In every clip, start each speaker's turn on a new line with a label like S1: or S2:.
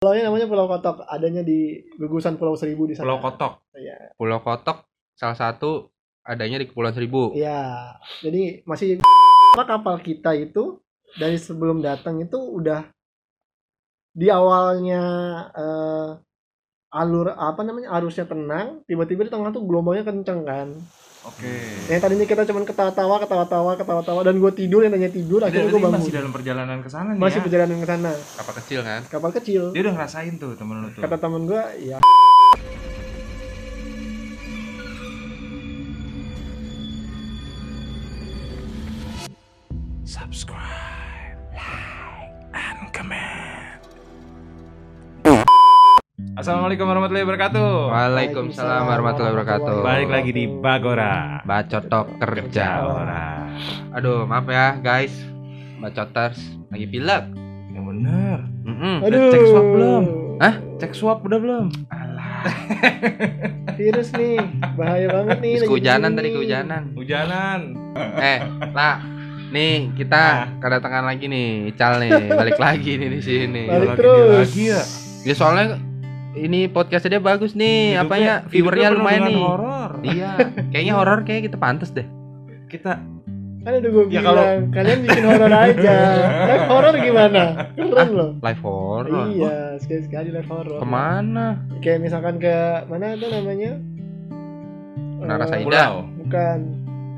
S1: Pulaunya namanya Pulau Kotok, adanya di gugusan Pulau Seribu di sana.
S2: Pulau Kotok.
S1: Iya.
S2: Pulau Kotok salah satu adanya di Kepulauan Seribu.
S1: Iya. Jadi masih apa kapal kita itu dari sebelum datang itu udah di awalnya eh, alur apa namanya arusnya tenang, tiba-tiba di tengah tuh gelombangnya kenceng kan.
S3: Oke.
S1: Yang tadinya kita cuman ketawa-tawa, ketawa-tawa, ketawa-tawa dan gue tidur yang tanya tidur,
S3: Jadi
S1: akhirnya gue bangun.
S3: masih dalam perjalanan ke sana nih
S1: Masih
S3: ya.
S1: perjalanan ke sana,
S2: Kapal kecil kan?
S1: kapal kecil.
S3: Dia udah ngerasain tuh temen lu tuh.
S1: Kata temen gue, ya
S3: Subscribe, like, and comment. Assalamualaikum warahmatullahi wabarakatuh.
S2: Waalaikumsalam warahmatullahi wabarakatuh.
S3: Balik lagi di Bagora.
S2: Bacotok kerja.
S3: Kerja orang.
S2: Aduh, maaf ya guys. Bacoters lagi pilek.
S3: Yang bener.
S2: Mm-mm.
S1: aduh.
S3: cek swab belum?
S2: Hah?
S3: Cek swab udah belum?
S1: virus nih bahaya banget nih
S2: Habis
S1: lagi
S2: kehujanan
S1: begini.
S2: tadi kehujanan.
S3: Hujanan.
S2: Eh, lah. Nih,
S3: Ah.
S2: kita kedatangan lagi nih, Ical nih, balik Iya, lagi nih di sini.
S1: Balik
S3: lagi, dia
S1: terus
S3: lagi ya.
S2: Ya soalnya ini podcastnya dia bagus nih,
S3: Hidupnya-
S2: apanya viewernya
S3: hidupnya penuh
S2: lumayan
S3: dengan
S2: nih.
S3: Horor.
S2: Iya, kayaknya horor kayak kita pantas deh.
S3: Kita
S1: kan udah gue
S3: Ya,
S1: bilang
S3: kalau-
S1: kalian bikin horor aja live horor gimana keren loh
S2: Live horor.
S1: iya sekali sekali live horor
S2: Kemana?
S1: kayak misalkan ke mana tuh namanya
S2: Menara
S1: Eh,
S2: Saida.
S3: pulau.
S1: bukan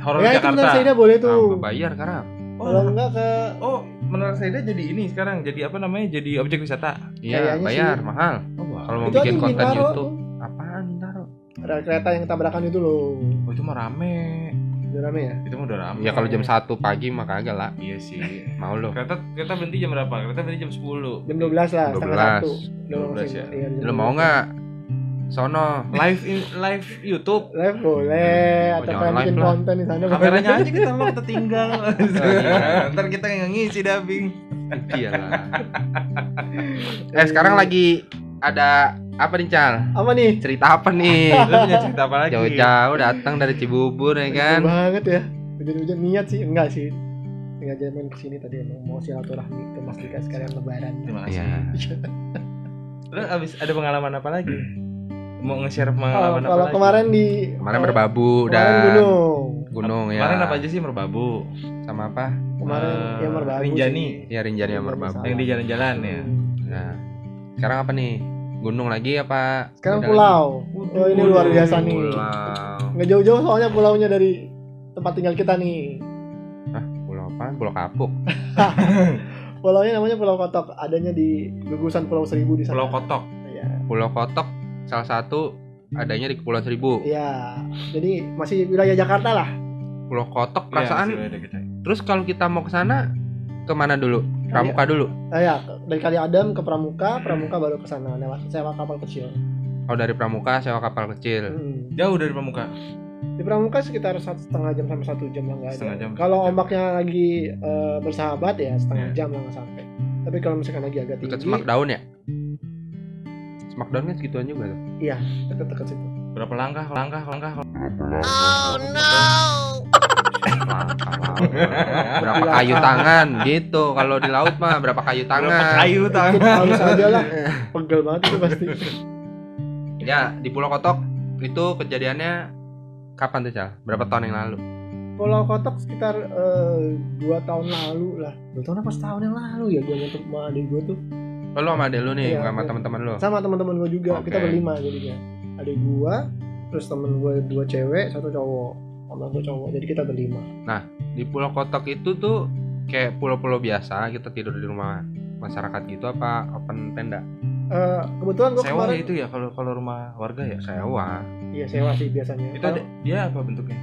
S3: Horor
S1: ya itu
S3: Jakarta.
S1: Menara Saida boleh
S2: Ah,
S1: tuh
S2: nggak bayar karena.
S1: kalau
S3: Oh,
S1: enggak ke
S3: oh, Menara Saida jadi ini sekarang jadi apa namanya? Jadi objek wisata.
S2: Iya,
S1: Kayaknya
S2: bayar
S1: sih.
S2: mahal.
S3: Oh, wah.
S2: Kalau mau
S1: itu ada
S2: bikin
S1: yang
S2: konten
S1: Bintaro.
S2: YouTube, apaan ntar?
S1: ada kereta yang tabrakan itu loh
S3: Oh, itu mah rame.
S1: udah rame ya
S3: Itu mah udah rame.
S2: Ya kalau jam 1 pagi mah kagak lah.
S3: Iya sih.
S2: Mau lo.
S3: Kereta kereta berhenti jam berapa? Kereta berhenti jam 10.
S1: jam 12 lah setengah
S2: 12.
S1: satu Udah
S3: 12
S1: langsung.
S3: ya?
S1: Iya, jam
S2: Lo mau
S1: 12.
S2: nggak? Sono.
S3: Live in live YouTube.
S1: live Eh, boleh
S2: Oh,
S1: atau
S2: jangan
S1: kalian bikin
S2: live lah.
S1: konten di sana
S3: Kameranya aja kita mau ketinggal. Ntar kita nggak ngisi dubbing.
S2: Iyalah. Iya eh sekarang lagi ada apa nih Cal?
S1: apa nih
S2: Cerita apa nih?
S3: Lu punya cerita apa lagi?
S2: Jauh-jauh datang dari Cibubur ya kan?
S1: Bener banget ya. Hujan-hujan niat sih enggak sih. Sengaja main kesini tadi emang mau silaturahmi ke Mas Dika sekalian lebaran.
S3: Terima kasih.
S2: Iya.
S3: Terus abis ada pengalaman apa lagi? Mau nge-share
S1: Oh,
S3: pengalaman apa
S1: kalau
S3: lagi?
S1: kemarin di
S2: Kemarin
S1: eh,
S2: berbabu
S1: kemarin
S2: dan
S1: gunung.
S2: gunung ya.
S3: Kemarin apa aja sih merbabu?
S2: Sama apa?
S1: Kemarin
S3: Eh,
S1: ya merbabu.
S3: Rinjani.
S1: sih. Hmm.
S2: Ya Rinjani sama Merbabu.
S3: Yang di jalan-jalan ya.
S2: Nah, sekarang apa nih? Gunung lagi apa?
S1: Sekarang
S2: Beda
S1: pulau. Oh, ini
S2: lagi?
S1: luar biasa nih.
S2: Pulau.
S1: Nggak jauh-jauh soalnya pulaunya dari tempat tinggal kita nih.
S2: Pulau apa? Pulau Kapuk.
S1: Pulaunya namanya Pulau Kotok, adanya di gugusan Pulau Seribu di sana.
S3: Pulau Kotok.
S1: Iya.
S2: Pulau Kotok salah satu adanya di Kepulauan Seribu.
S1: Iya. Jadi masih wilayah Jakarta lah.
S2: Pulau Kotok
S3: Iya,
S2: perasaan.
S3: masih ada kita.
S2: Terus kalau kita mau ke sana kemana dulu?
S3: Iya.
S2: Pramuka dulu.
S1: Nah, ya, dari Kali Adam ke Pramuka, Pramuka baru ke sana lewat sewa kapal kecil.
S2: Kalau dari Pramuka sewa kapal kecil.
S1: Hmm.
S3: Jauh dari pramuka.
S1: di Pramuka sekitar satu setengah jam sampai satu jam lah nggak
S3: Setengah
S1: ada.
S3: jam,
S1: Kalau
S3: satu jam.
S1: ombaknya lagi eh, bersahabat ya setengah
S3: Iya.
S1: jam lah nggak sampai. Tapi kalau misalkan lagi agak
S2: Dekat
S1: tinggi,
S2: Semak Daun ya? Semak Daun kan segituan juga tuh.
S1: dekat-dekat situ.
S3: Berapa langkah? Langkah, langkah.
S2: berapa kayu tangan gitu kalau di laut mah berapa kayu
S3: Berapa
S2: tangan
S3: kayu
S1: Ikut
S3: tangan?
S1: Harus aja lah, pegel banget itu pasti.
S2: ya di Pulau Kotok itu kejadiannya kapan tuh Cal? berapa tahun yang lalu
S1: Pulau Kotok sekitar eh, dua tahun lalu lah. Dua tahun apa setahun yang lalu ya gue nyentuh sama adik gue tuh.
S2: Oh, lu sama adek lu nih
S1: Iya,
S2: bukan sama
S1: iya.
S2: teman-teman lu
S1: Sama teman-teman gue juga,
S2: Oke.
S1: kita berlima jadinya. Adik gue, terus temen gue dua cewek, satu cowok. Sama gue cowok, jadi kita berlima.
S2: di Pulau Kotok itu tuh kayak pulau-pulau biasa kita tidur di rumah masyarakat gitu apa open tenda
S1: Eh, kebetulan gue
S3: Sewa
S1: kemarin,
S3: ya itu ya kalau kalau rumah warga ya.
S2: sewa
S1: iya sewa sih biasanya.
S3: Itu
S1: Kalau-
S3: ada, dia apa bentuknya?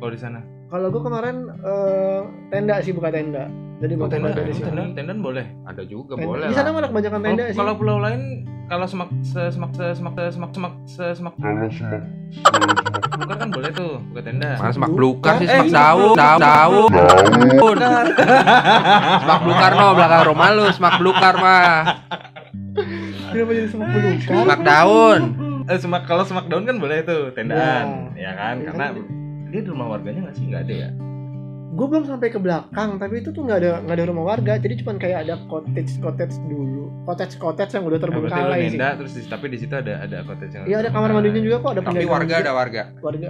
S3: Kalau di sana?
S1: Kalau gue kemarin eh, tenda sih buka tenda. Jadi
S2: Oh,
S1: buka
S2: tenda,
S1: tenda,
S2: tenda,
S1: di sini.
S3: tendan, tendan boleh.
S2: ada juga
S1: Tenda.
S2: boleh
S1: Di sana
S2: lah
S1: malah kebanyakan tenda
S3: Kalau-
S1: sih.
S3: Kalau pulau lain kalau semak se- semak se- semak se- semak semak se- semak bukan kan boleh tuh buka tenda.
S2: Mana semak belukar sih semak
S3: Eh, iya,
S2: daun daun daun daun semak belukar no belakang rumah lu semak belukar mah
S1: Kenapa jadi semua belukar?
S2: semak daun
S3: Eh, semak kalau semak daun kan boleh tuh tendaan, ya kan?
S1: Iya.
S3: Karena dia di rumah warganya nggak sih nggak ada ya?
S1: gue belum sampai ke belakang tapi itu tuh nggak ada nggak ada rumah warga jadi cuman kayak ada cottage cottage dulu cottage cottage yang udah
S2: Nah, berarti lu
S1: terbengkalai sih
S2: nenda terus di- tapi di situ ada ada cottage yang
S1: iya ada kamar mandinya juga kok ada
S2: Tapi
S1: penjaga
S2: warga
S1: masjid.
S2: ada warga.
S1: warga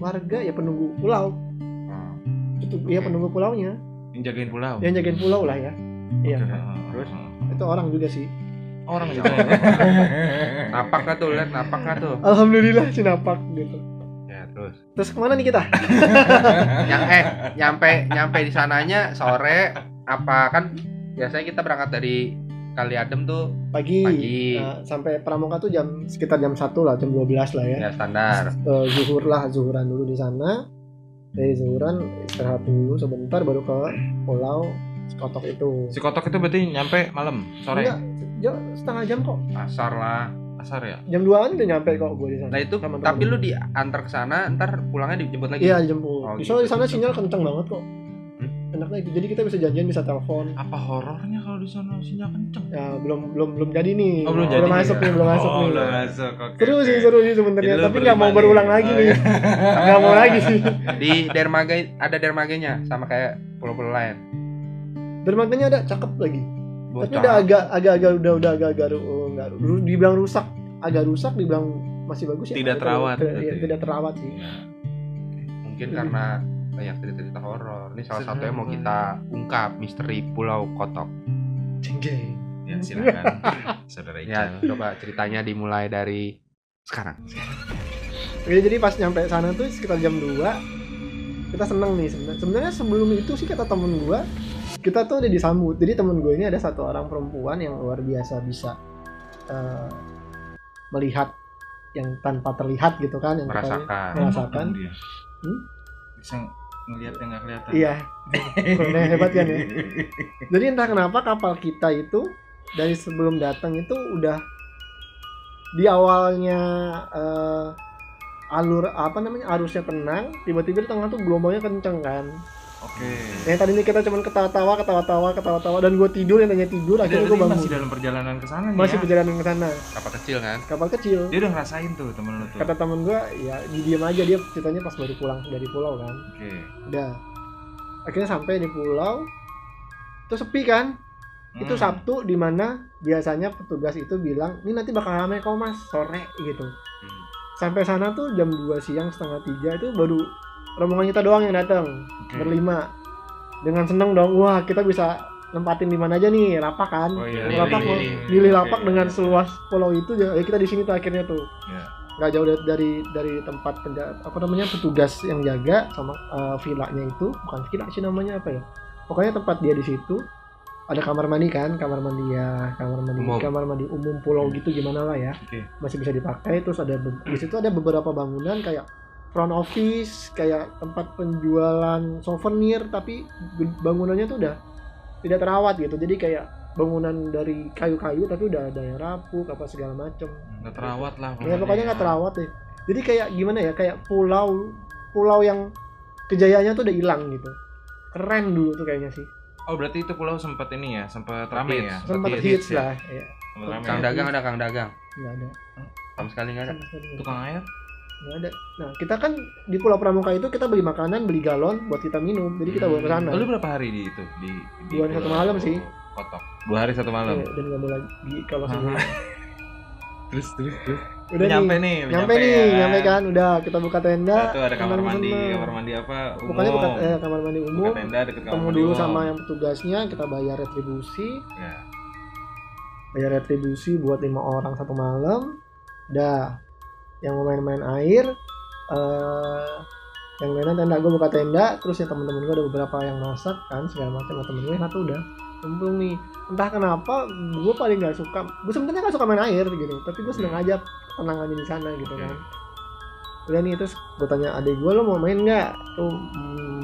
S1: warga ya penunggu pulau
S2: Hmm.
S1: itu ya penunggu pulaunya
S3: yang jagain pulau
S1: yang jagain pulau lah ya iya
S3: terus
S1: itu orang juga sih
S3: orang
S2: Iya.
S3: gitu ya.
S2: Napak nggak tuh, lihat napak nggak tuh?
S1: alhamdulillah cinapak gitu
S2: Ya terus.
S1: terus kemana nih kita
S2: Yang eh nyampe nyampe di sananya sore apa kan biasanya kita berangkat dari Kaliadem tuh
S1: pagi,
S2: Pagi.
S1: Nah, sampai Pramuka tuh jam sekitar jam 1 lah jam 12 lah ya
S2: ya standar.
S1: Eh, zuhur lah zuhuran dulu di sana dari zuhuran istirahat dulu sebentar baru ke pulau Kotok itu
S3: si kotok itu berarti nyampe malam sore
S1: Enggak, jauh- setengah jam kok
S2: Asar lah.
S3: asar ya
S1: jam 2an udah nyampe kok gue di sana
S2: Nah itu
S1: Sama temen.
S2: tapi lu diantar ke sana ntar pulangnya dijemput lagi.
S1: iya jemput
S2: Oh,
S1: soalnya di
S2: gitu.
S1: sana sinyal kenceng banget kok
S3: Hmm?
S1: enaknya itu jadi kita bisa janjian bisa telepon
S3: apa horornya kalau di sana sinyal kenceng
S1: ya, belum belum belum jadi nih
S3: Oh, belum jadi
S1: masuk
S2: ya.
S1: nih belum masuk
S3: oh
S1: nih
S3: belum masuk oke
S1: seru
S3: oke.
S1: sih seru sih sebenarnya
S3: Jadi lu
S1: tapi nggak mau
S3: berbalik.
S1: berulang lagi
S3: Oh,
S1: nih
S3: iya.
S1: nggak mau lagi sih
S2: Di dermaga ada dermaganya sama kayak pulau-pulau lain.
S1: dermaganya ada cakep lagi tapi
S2: Bocah.
S1: udah agak agak agak udah udah agak agak ru- nggak ru- dibilang rusak agak rusak dibilang masih bagus ya
S3: Tidak
S1: Tapi
S3: terawat,
S1: tidak, iya,
S3: berarti.
S1: tidak terawat sih
S3: Iya.
S2: mungkin karena banyak cerita-cerita horor. Ini salah satu yang mau
S3: Serem.
S2: kita ungkap misteri Pulau Kotok.
S1: Cenggeng.
S3: ya silakan saudara Ical
S2: Ya, coba ceritanya dimulai dari sekarang.
S1: Oke, Iya, jadi pas nyampe sana tuh sekitar jam 2 kita seneng nih sebenarnya sebenarnya sebelum itu sih kata temen gua kita tuh udah disambut jadi temen gue ini ada satu orang perempuan yang luar biasa bisa eh, melihat yang tanpa terlihat gitu kan yang kita-
S2: Merasakan.
S1: merasakan
S3: dia
S1: Hmm?
S3: Iya. bisa ngelihat yang nggak kelihatan
S1: iya kurangnya hebat kan ya Jadi entah kenapa kapal kita itu dari sebelum datang itu udah di awalnya eh, alur apa namanya arusnya tenang, tiba-tiba di tengah tuh gelombangnya kenceng kan.
S3: oke
S1: Yang Eh, tadi ini kita cuman ketawa-tawa, ketawa-tawa, ketawa-tawa dan gue tidur yang tanya tidur Eh, akhirnya
S3: Berarti
S1: gue bangun.
S3: masih dalam perjalanan ke sana nih
S1: Masih
S3: ya. Iya.
S1: perjalanan ke sana.
S2: Kapal kecil kan?
S1: Kapal kecil.
S3: Dia udah ngerasain tuh temen lu tuh.
S1: Kata temen gue ya didiam aja dia ceritanya pas baru pulang dari pulau kan.
S3: Oke. Hmm,
S1: Udah. Akhirnya sampai di pulau terus sepi kan?
S3: Hmm.
S1: itu Sabtu di mana biasanya petugas itu bilang ini nanti bakal ramai kok mas sore gitu
S2: Hmm.
S1: sampai sana tuh jam 2 siang setengah tiga itu baru rombongan kita doang yang datang Hmm.
S3: Oke.
S1: berlima dengan seneng dong wah kita bisa nempatin di mana aja nih lapak kan
S3: Oh iya.
S1: Milih lapak,
S3: milih.
S1: milih lapak
S3: Oke.
S1: dengan seluas pulau itu ya ya kita di sini tuh akhirnya tuh
S3: Iya.
S1: nggak jauh dari- dari dari tempat penja- apa namanya petugas yang jaga sama eh, villanya itu bukan villa sih namanya apa ya pokoknya tempat dia di situ ada kamar mandi kan kamar mandi ya kamar mandi
S2: Umum.
S1: kamar mandi umum pulau
S3: Hmm.
S1: gitu gimana lah ya
S3: Oke.
S1: masih bisa dipakai terus ada be- di situ ada beberapa bangunan kayak front office kayak tempat penjualan souvenir tapi be- bangunannya tuh udah tidak terawat gitu jadi kayak bangunan dari kayu-kayu tapi udah ada yang rapuk apa segala macem
S3: Nggak terawat lah.
S1: Ya pokoknya nggak terawat deh. Jadi kayak gimana ya? Kayak pulau pulau yang kejayaannya tuh udah hilang gitu. Keren dulu tuh kayaknya sih.
S3: Oh berarti itu pulau sempat ini ya, sempat rame ya.
S2: Hits.
S1: Sempat
S2: Seperti
S1: hits
S2: hits ya.
S1: lah. Iya,
S3: Sempat rame.
S2: Kang dagang ada kang dagang.
S1: nggak ada.
S2: Sama sekali nggak ada.
S1: Sama sekali nggak ada.
S3: Tukang air.
S1: Nggak ada. Nah kita kan di Pulau Pramuka itu kita beli makanan, beli galon buat kita minum. Jadi kita bawa ke sana.
S3: Oh, Lu berapa hari di itu di? di
S1: Dua hari satu
S3: Pulau
S1: malam sih.
S3: Kotok. Dua hari satu malam.
S1: Iya, Dan nggak mau lagi kalau
S3: Aha.
S1: sebulan.
S3: Terus terus terus.
S1: Udah
S3: Hmm. nyampe
S1: nih.
S3: nih, lu
S1: Nyampe nih,
S3: ya
S1: nyampe kan. Udah kita buka tenda.
S3: Nah, tuh ada kamar
S1: teman-teman.
S3: mandi, kamar mandi apa? Umum.
S1: Pokoknya buka eh, kamar mandi
S3: Buka
S1: umum.
S3: tenda deket kamar
S1: Ketemu
S3: mandi
S1: dulu
S3: umum.
S1: sama yang petugasnya, kita bayar retribusi.
S3: Ya.
S1: bayar retribusi buat lima orang satu malam dah yang mau main-main air eh yang mainan tenda gue buka tenda terus ya temen-temen gue ada beberapa yang masak kan segala macam nah, temen gue yang satu udah untung nih entah kenapa gue paling nggak suka gue sebenarnya nggak suka main air gitu tapi gue seneng aja tenang aja di sana gitu
S3: Oke.
S1: kan udah nih terus gue tanya adik gue lo mau main nggak tuh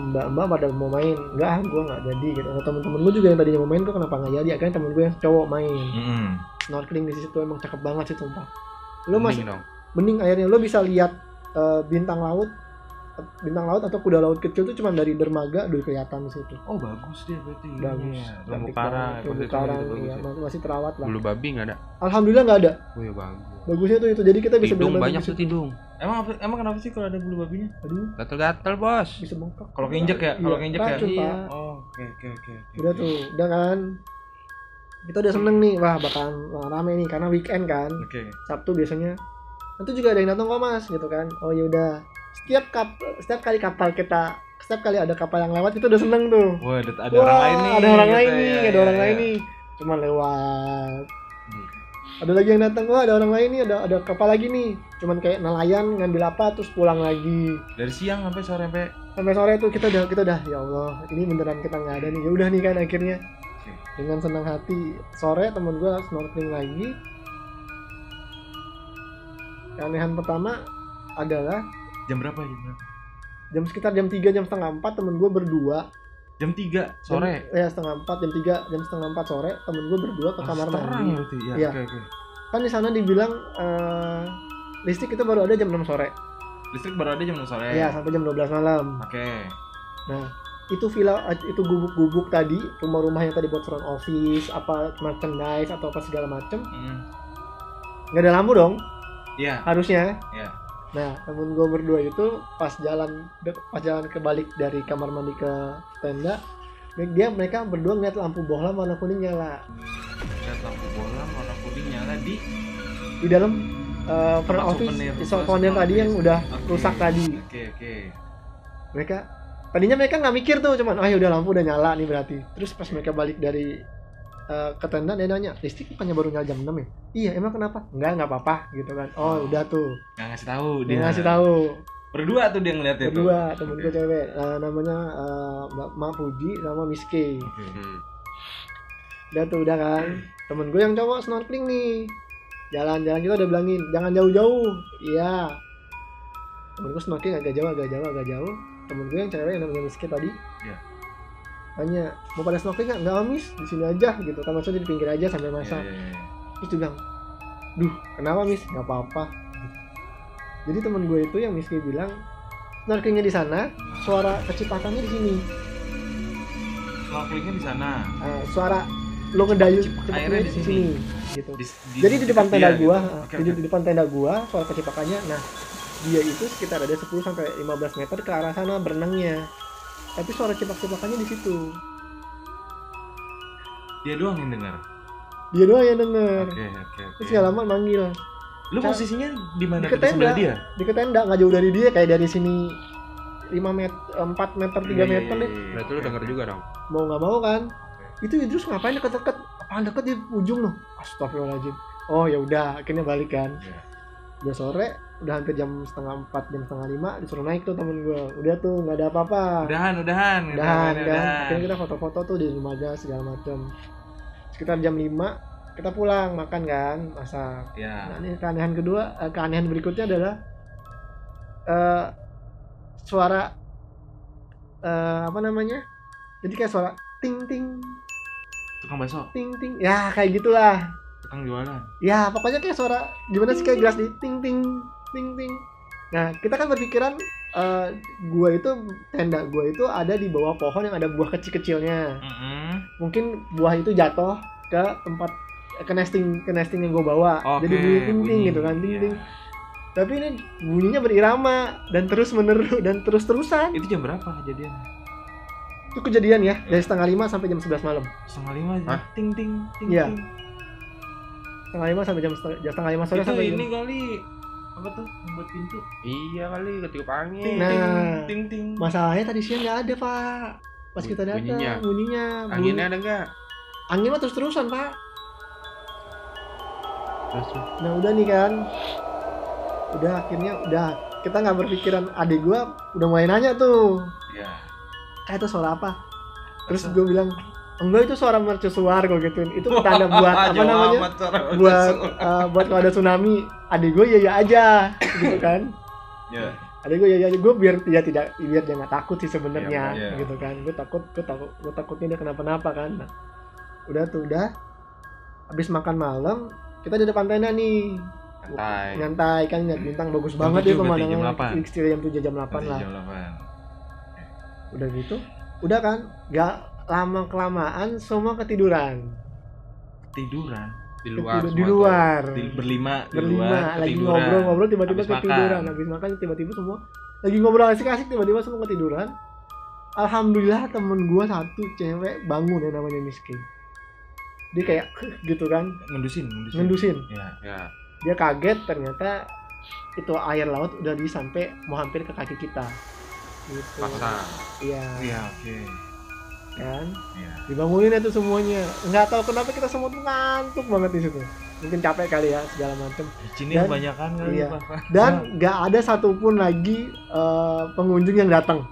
S1: mbak mbak pada mau main nggak ah, gue nggak jadi gitu nah, temen-temen gue juga yang tadinya mau main kok kenapa nggak jadi akhirnya temen gue yang cowok main
S3: Mm-mm.
S1: snorkeling di situ emang cakep banget sih sumpah. Lo masih
S2: Mending dong.
S1: bening airnya, lo bisa lihat eh, bintang laut, bintang laut atau kuda laut kecil tuh cuma dari dermaga udah kelihatan di situ.
S3: Oh bagus dia berarti.
S1: Bagus,
S3: Iya, Terumbu
S1: cantik
S3: karang,
S1: banget.
S3: ekosistem
S1: terumbu
S3: itu
S1: karang,
S3: bagus
S1: iya,
S3: ya.
S1: masih, masih terawat lah.
S2: Bulu babi nggak ada.
S1: Alhamdulillah nggak ada.
S2: Oh ya bagus.
S1: Bagusnya tuh itu, jadi kita bisa
S2: Tidung
S1: bener-bener
S2: banyak
S1: bisa-
S2: tuh tidung.
S3: Emang apa- emang kenapa sih kalau ada bulu babinya?
S1: aduh
S2: Gatel-gatel bos.
S1: bisa bengkak
S3: Kalau keinjek ya, kalau
S1: Iya,
S3: keinjek ya.
S1: racun, Pak.
S3: Oh, oke oke oke. oke.
S1: udah tuh udah kan kita udah seneng nih wah bakalan wah, rame nih karena weekend kan
S3: Oke.
S1: Sabtu biasanya nanti juga ada yang datang kok mas gitu kan oh ya udah setiap kap setiap kali kapal kita setiap kali ada kapal yang lewat itu udah seneng tuh
S3: Wah, ada, ada
S1: Wah,
S3: orang lain nih.
S1: ada orang
S3: gitu
S1: lain
S3: ya,
S1: nih
S3: ya,
S1: ada orang
S3: ya.
S1: lain nih cuma lewat
S3: Hmm.
S1: ada lagi yang datang wah ada orang lain nih ada ada kapal lagi nih cuman kayak nelayan ngambil apa terus pulang lagi
S3: Dari siang sampai sore sampai
S1: sampai sore tuh kita udah kita udah ya Allah ini beneran kita nggak ada nih ya udah nih kan akhirnya
S3: Oke.
S1: dengan senang hati sore temen gue snorkeling lagi keanehan pertama adalah
S3: jam berapa ya? jam berapa?
S1: jam sekitar jam 3 jam setengah 4 temen gue berdua
S3: Jam 3 sore.
S1: jam, ya setengah 4 jam 3 jam setengah 4 sore temen gue berdua ke kamar
S3: terang
S1: mandi
S3: ya berarti. Ya,
S1: Iya.
S3: oke oke.
S1: kan di sana dibilang eh, listrik itu baru ada jam 6 sore
S3: Listrik baru ada jam 6 sore.
S1: ya sampai jam 12 malam
S3: Oke.
S1: itu villa itu gubuk-gubuk tadi rumah-rumah yang tadi buat front office apa merchandise atau apa segala macem
S3: Hmm.
S1: nggak ada lampu dong
S3: Iya.
S1: harusnya
S3: Iya.
S1: nah temen gue berdua itu pas jalan pas jalan kebalik dari kamar mandi ke tenda dia mereka berdua ngeliat lampu bohlam warna kuning nyala
S3: Lihat lampu bola warna kuning nyala di
S1: di dalam eh, front
S3: Tempat
S1: office
S3: souvenir.
S1: di souvenir tadi yang udah
S3: Oke.
S1: rusak tadi
S3: Oke oke.
S1: mereka tadinya mereka nggak mikir tuh cuman ah udah lampu udah nyala nih berarti terus pas mereka balik dari eh, ke tenda dia nanya listrik bukannya baru nyala jam 6 ya iya emang kenapa nggak nggak apa-apa gitu kan oh udah tuh
S3: Nggak ngasih tahu
S1: dia ngasih tahu
S3: Berdua tuh dia ngeliatnya Iya, tuh.
S1: kedua temen gue
S3: Oke.
S1: cewek eh, namanya eh, mbak Mak Puji sama Miss K
S3: Oke.
S2: Hmm.
S1: udah tuh udah kan temen gue yang cowok snorkeling nih jalan-jalan kita udah bilangin jangan jauh-jauh iya temen gue snorkeling agak jauh agak jauh agak jauh temen gue yang cewek yang namanya miskin tadi
S3: Iya.
S1: tanya mau pada snorkeling nggak nggak mis di sini aja gitu kan maksudnya di pinggir aja sampai
S3: Iya,
S1: masak
S3: iya, iya.
S1: terus dia bilang duh kenapa mis nggak apa-apa jadi temen gue itu yang miskin bilang snorkelingnya di sana suara kecipatannya di sini
S3: Snorkelingnya di sana.
S1: Eh, suara lo ngedayung
S3: Cip-
S1: cepet
S3: airnya di
S1: di
S3: sini.
S1: sini gitu
S3: Di-
S1: jadi di depan tenda
S3: iya,
S1: gua,
S3: gitu.
S1: ah,
S3: Oke,
S1: jadi
S3: oke.
S1: di depan tenda gua soal kecipakannya. Nah, dia itu sekitar ada 10 sampai 15 meter ke arah sana berenangnya. Tapi suara cipak-cipakannya di situ.
S3: Dia doang yang dengar.
S1: Dia doang yang denger.
S3: Oke oke. oke.
S1: Terus nggak lama manggil.
S3: Lu posisinya di mana?
S1: Di
S3: Di
S1: tenda.
S3: sebelah dia.
S1: Di ke tenda nggak jauh dari dia kayak dari sini 5 meter 4 meter 3
S3: Iya,
S1: meter deh.
S2: Berarti lu denger juga dong.
S1: Mau nggak mau kan? Itu Idrus ngapain deket-deket? Apaan deket di ujung loh. Astagfirullahaladzim. Oh ya udah, akhirnya balik kan.
S3: Iya.
S1: Udah sore, udah hampir jam setengah empat, jam setengah lima, disuruh naik tuh temen gue. Udah tuh, nggak ada apa-apa.
S3: Udahan, udahan. gitu,
S1: dan
S3: udahan,
S1: dan
S3: udahan.
S1: akhirnya kita foto-foto tuh di dermaga segala macam sekitar jam 5 kita pulang makan kan masak
S3: Ya.
S1: nah ini keanehan kedua eh, keanehan berikutnya adalah eh suara eh apa namanya jadi kayak suara ting ting
S3: Tukang bakso,
S1: ting ting ya kayak gitulah
S3: tukang jualan.
S1: ya pokoknya kayak suara gimana sih kayak gelas di ting ting ting ting nah kita kan berpikiran eh, gua itu tenda gua itu ada di bawah pohon yang ada buah kecil-kecilnya
S3: Mm-mm.
S1: mungkin buah itu jatuh ke tempat ke nesting ke nesting yang gua bawa
S3: Oke.
S1: jadi bunyi ting ting
S3: bunyi.
S1: gitu kan ting
S3: Iya.
S1: ting tapi ini bunyinya berirama dan terus menerus dan terus terusan
S3: Itu jam berapa kejadian?
S1: itu kejadian ya dari setengah lima sampai jam 11 malam
S3: Setengah lima.
S2: Hah?
S3: Ting ting ting.
S1: Iya.
S3: ting.
S1: setengah lima sampai jam setengah, jam setengah lima sore
S3: Itu
S1: sampai jam-
S3: ini kali apa tuh yang buat pintu?
S2: Iya kali ketiup
S3: Ting
S2: angin.
S1: Nah.
S3: ting ting. ting.
S1: masalahnya tadi siang nggak ada pak pas
S2: Bu-
S1: kita datang
S2: bunyinya.
S1: bunyinya, bunyinya
S3: Iya.
S2: Anginnya ada enggak?
S1: angin mah terus terusan pak
S2: Terus terus.
S1: nah udah nih kan udah akhirnya udah kita nggak berpikiran adik gua udah mulai nanya tuh
S3: Iya.
S1: eh itu suara apa terus
S3: Bakso.
S1: gua bilang enggak itu suara mercusuar gua gituin itu tanda buat apa
S3: Jawaban
S1: namanya
S3: suara
S1: buat
S3: bakso.
S1: eh, buat kalau ada tsunami adik gua ya ya aja gitu kan
S3: Iya.
S1: adik gua ya ya gue biar dia tidak biar dia nggak takut sih sebenarnya
S3: Iya, iya.
S1: gitu kan gue takut gue takut gue takutnya dia kenapa-napa kan Nah, udah tuh udah habis makan malam kita di depan tenda nih
S2: Santai.
S1: nyantai kan lihat bintang bagus
S3: Jam
S1: banget ya
S3: 7 berarti,
S1: pemandangan
S3: jam 8.
S1: sekitar jam 7 jam 8 lah
S3: Jam delapan.
S1: udah gitu udah kan gak lama kelamaan semua ketiduran
S3: Tiduran.
S2: di luar
S1: Ketidur- di
S2: semua
S1: luar
S3: Di- berlima di
S1: Hmm. berlima
S3: luar
S1: lagi
S3: ketiduran.
S1: ngobrol-ngobrol tiba-tiba
S3: Habis makan.
S1: ketiduran habis makan tiba-tiba semua lagi ngobrol asik-asik tiba-tiba semua ketiduran alhamdulillah temen gua satu cewek bangun yang namanya miskin dia kayak gitu kan
S3: ngendusin ngendusin
S1: ngendusin
S3: ya
S2: tuh. ya
S1: dia kaget ternyata itu air laut udah di sampai mau hampir ke kaki kita gitu
S2: pasang
S1: iya
S3: ya oke
S1: kan
S3: Iya.
S1: dibangunin itu semuanya nggak tahu kenapa kita semua tuh ngantuk banget di situ mungkin capek kali ya segala macem
S3: Bicinnya
S1: Dan-
S3: kebanyakan kan
S1: iya. dan nggak ada satupun lagi eh, pengunjung yang datang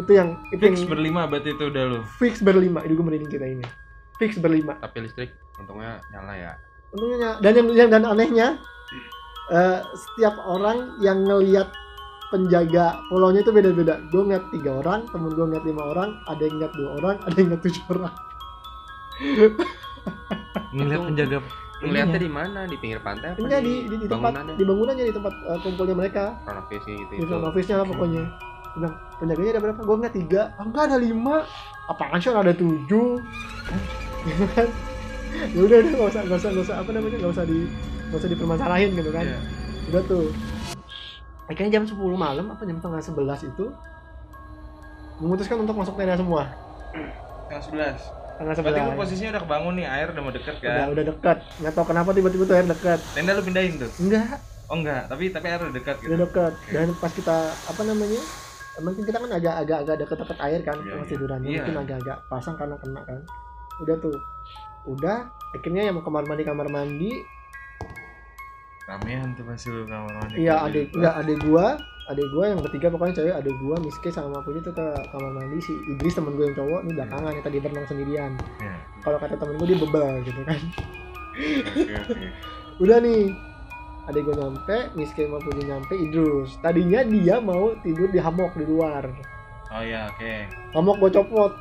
S1: itu yang itu
S3: fix
S1: yang
S3: berlima berarti itu udah lo
S1: fix berlima itu gue merinding cerita ini fix berlima
S2: tapi listrik untungnya nyala ya
S3: Iya.
S1: untungnya dan yang, yang- dan anehnya eh, setiap orang yang ngelihat penjaga pulaunya itu beda-beda gue ngeliat tiga orang temen gue ngeliat lima orang ada yang ngeliat dua orang ada yang ngeliat tujuh orang
S3: ngeliat penjaga
S2: ngeliatnya di mana di pinggir pantai apa
S1: ini di, di, di tempat
S2: bangunannya
S1: di bangunannya di tempat eh, kumpulnya mereka
S2: front office gitu
S1: di
S2: itu
S1: front office-nya lah pokoknya Dia bilang penjaganya ada berapa gue ngeliat tiga "Ah, enggak ada lima apaan sih orang ada tujuh Gitu kan ya udah udah nggak usah nggak usah nggak usah apa namanya nggak usah di nggak usah dipermasalahin gitu kan
S3: Iya.
S1: udah tuh akhirnya jam 10 malam apa jam tengah 11 itu memutuskan untuk masuk tenda semua
S3: yang sebelas
S1: tengah
S3: berarti lu
S1: 11
S3: posisinya udah kebangun nih air udah mau deket
S1: udah
S3: kan
S1: udah dekat nggak tahu kenapa tiba-tiba tuh air dekat
S3: tenda lu pindahin tuh
S1: enggak
S3: oh enggak tapi tapi air udah deket gitu
S1: udah dekat Iya, dan pas kita apa namanya mungkin kita kan agak agak agak deket deket air kan
S3: Iya,
S1: pas
S3: iya.
S1: tiduran
S3: Iya.
S1: mungkin agak agak pasang karena kena kan udah tuh udah akhirnya yang mau kamar mandi kamar mandi
S3: ramean tuh pasti lu kamar mandi
S1: iya adik enggak adik gua adik gua yang ketiga pokoknya cewek adik gua Miske sama Putri tuh ke kamar mandi si Idris temen gue yang cowok ini belakangan yang tadi berenang sendirian
S3: Iya.
S1: kalau kata temen gue dia bebel gitu kan
S3: Oke, oke.
S1: udah nih adik gue nyampe Miske sama Putri nyampe Idris tadinya dia mau tidur di hamok di luar
S3: oh iya oke
S1: hamok gue copot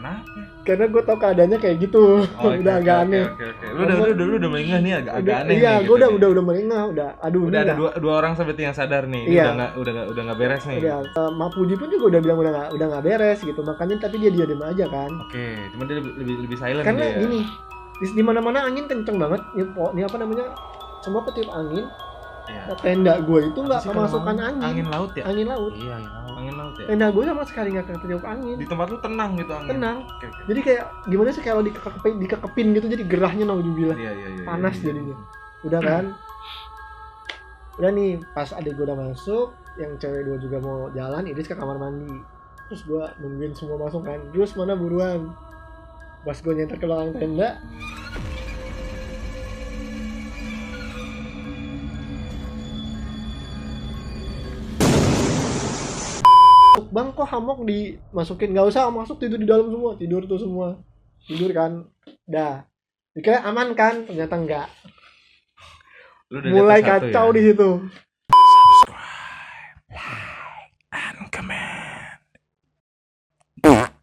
S3: kenapa
S1: karena gue tau keadaannya kayak gitu
S3: Oh, oke,
S1: udah
S3: oke,
S1: agak
S3: oke,
S1: aneh
S3: oke, oke. Lu udah, lu udah, lu udah melengah nih agak, agak
S1: Udah-
S3: aneh.
S1: iya
S3: nih,
S1: gue
S3: gitu
S1: udah
S3: nih.
S1: udah udah melengah udah aduh
S3: Udah
S1: ini
S3: ada
S1: udah-
S3: dua, dua orang seperti yang sadar nih. Ini
S1: Iya.
S3: Udah nggak, udah nggak, udah nggak beres nih.
S1: udah Eh, Mak Puji pun juga udah bilang udah nggak udah nggak beres gitu makanya tapi dia diam aja kan
S3: Oke, cuman dia lebih, lebih, lebih silent
S1: karena
S3: dia.
S1: gini di, di mana mana angin kenceng banget ini, po- ini apa namanya semua petiup angin Nah,
S3: Iya.
S1: tenda gue itu nggak
S3: Apa sih kalau
S1: kemasukan angin angin,
S3: Angin laut ya.
S1: laut
S2: iya iya
S3: Angin laut ya.
S1: tenda gue sama sekali nggak ketiup angin
S3: Di tempat lu tenang gitu angin.
S1: tenang
S3: Oke, oke.
S1: jadi kayak gimana sih kalau dikekepin, dikekepin gitu jadi gerahnya naudzubillah
S3: Iya, iya, iya.
S1: Panas
S3: iya, iya.
S1: jadinya. udah kan udah nih pas adik gue udah masuk yang cewek dua juga mau jalan Idris ke kamar mandi terus gue nungguin semua masuk kan terus mana buruan pas gue nyenter ke belakang tenda bang kok hamok dimasukin nggak usah masuk tidur di dalam semua tidur tuh semua tidur kan dah dikira aman kan ternyata enggak
S3: Lu udah
S1: mulai
S3: dapet satu
S1: kacau
S3: ya?
S1: di situ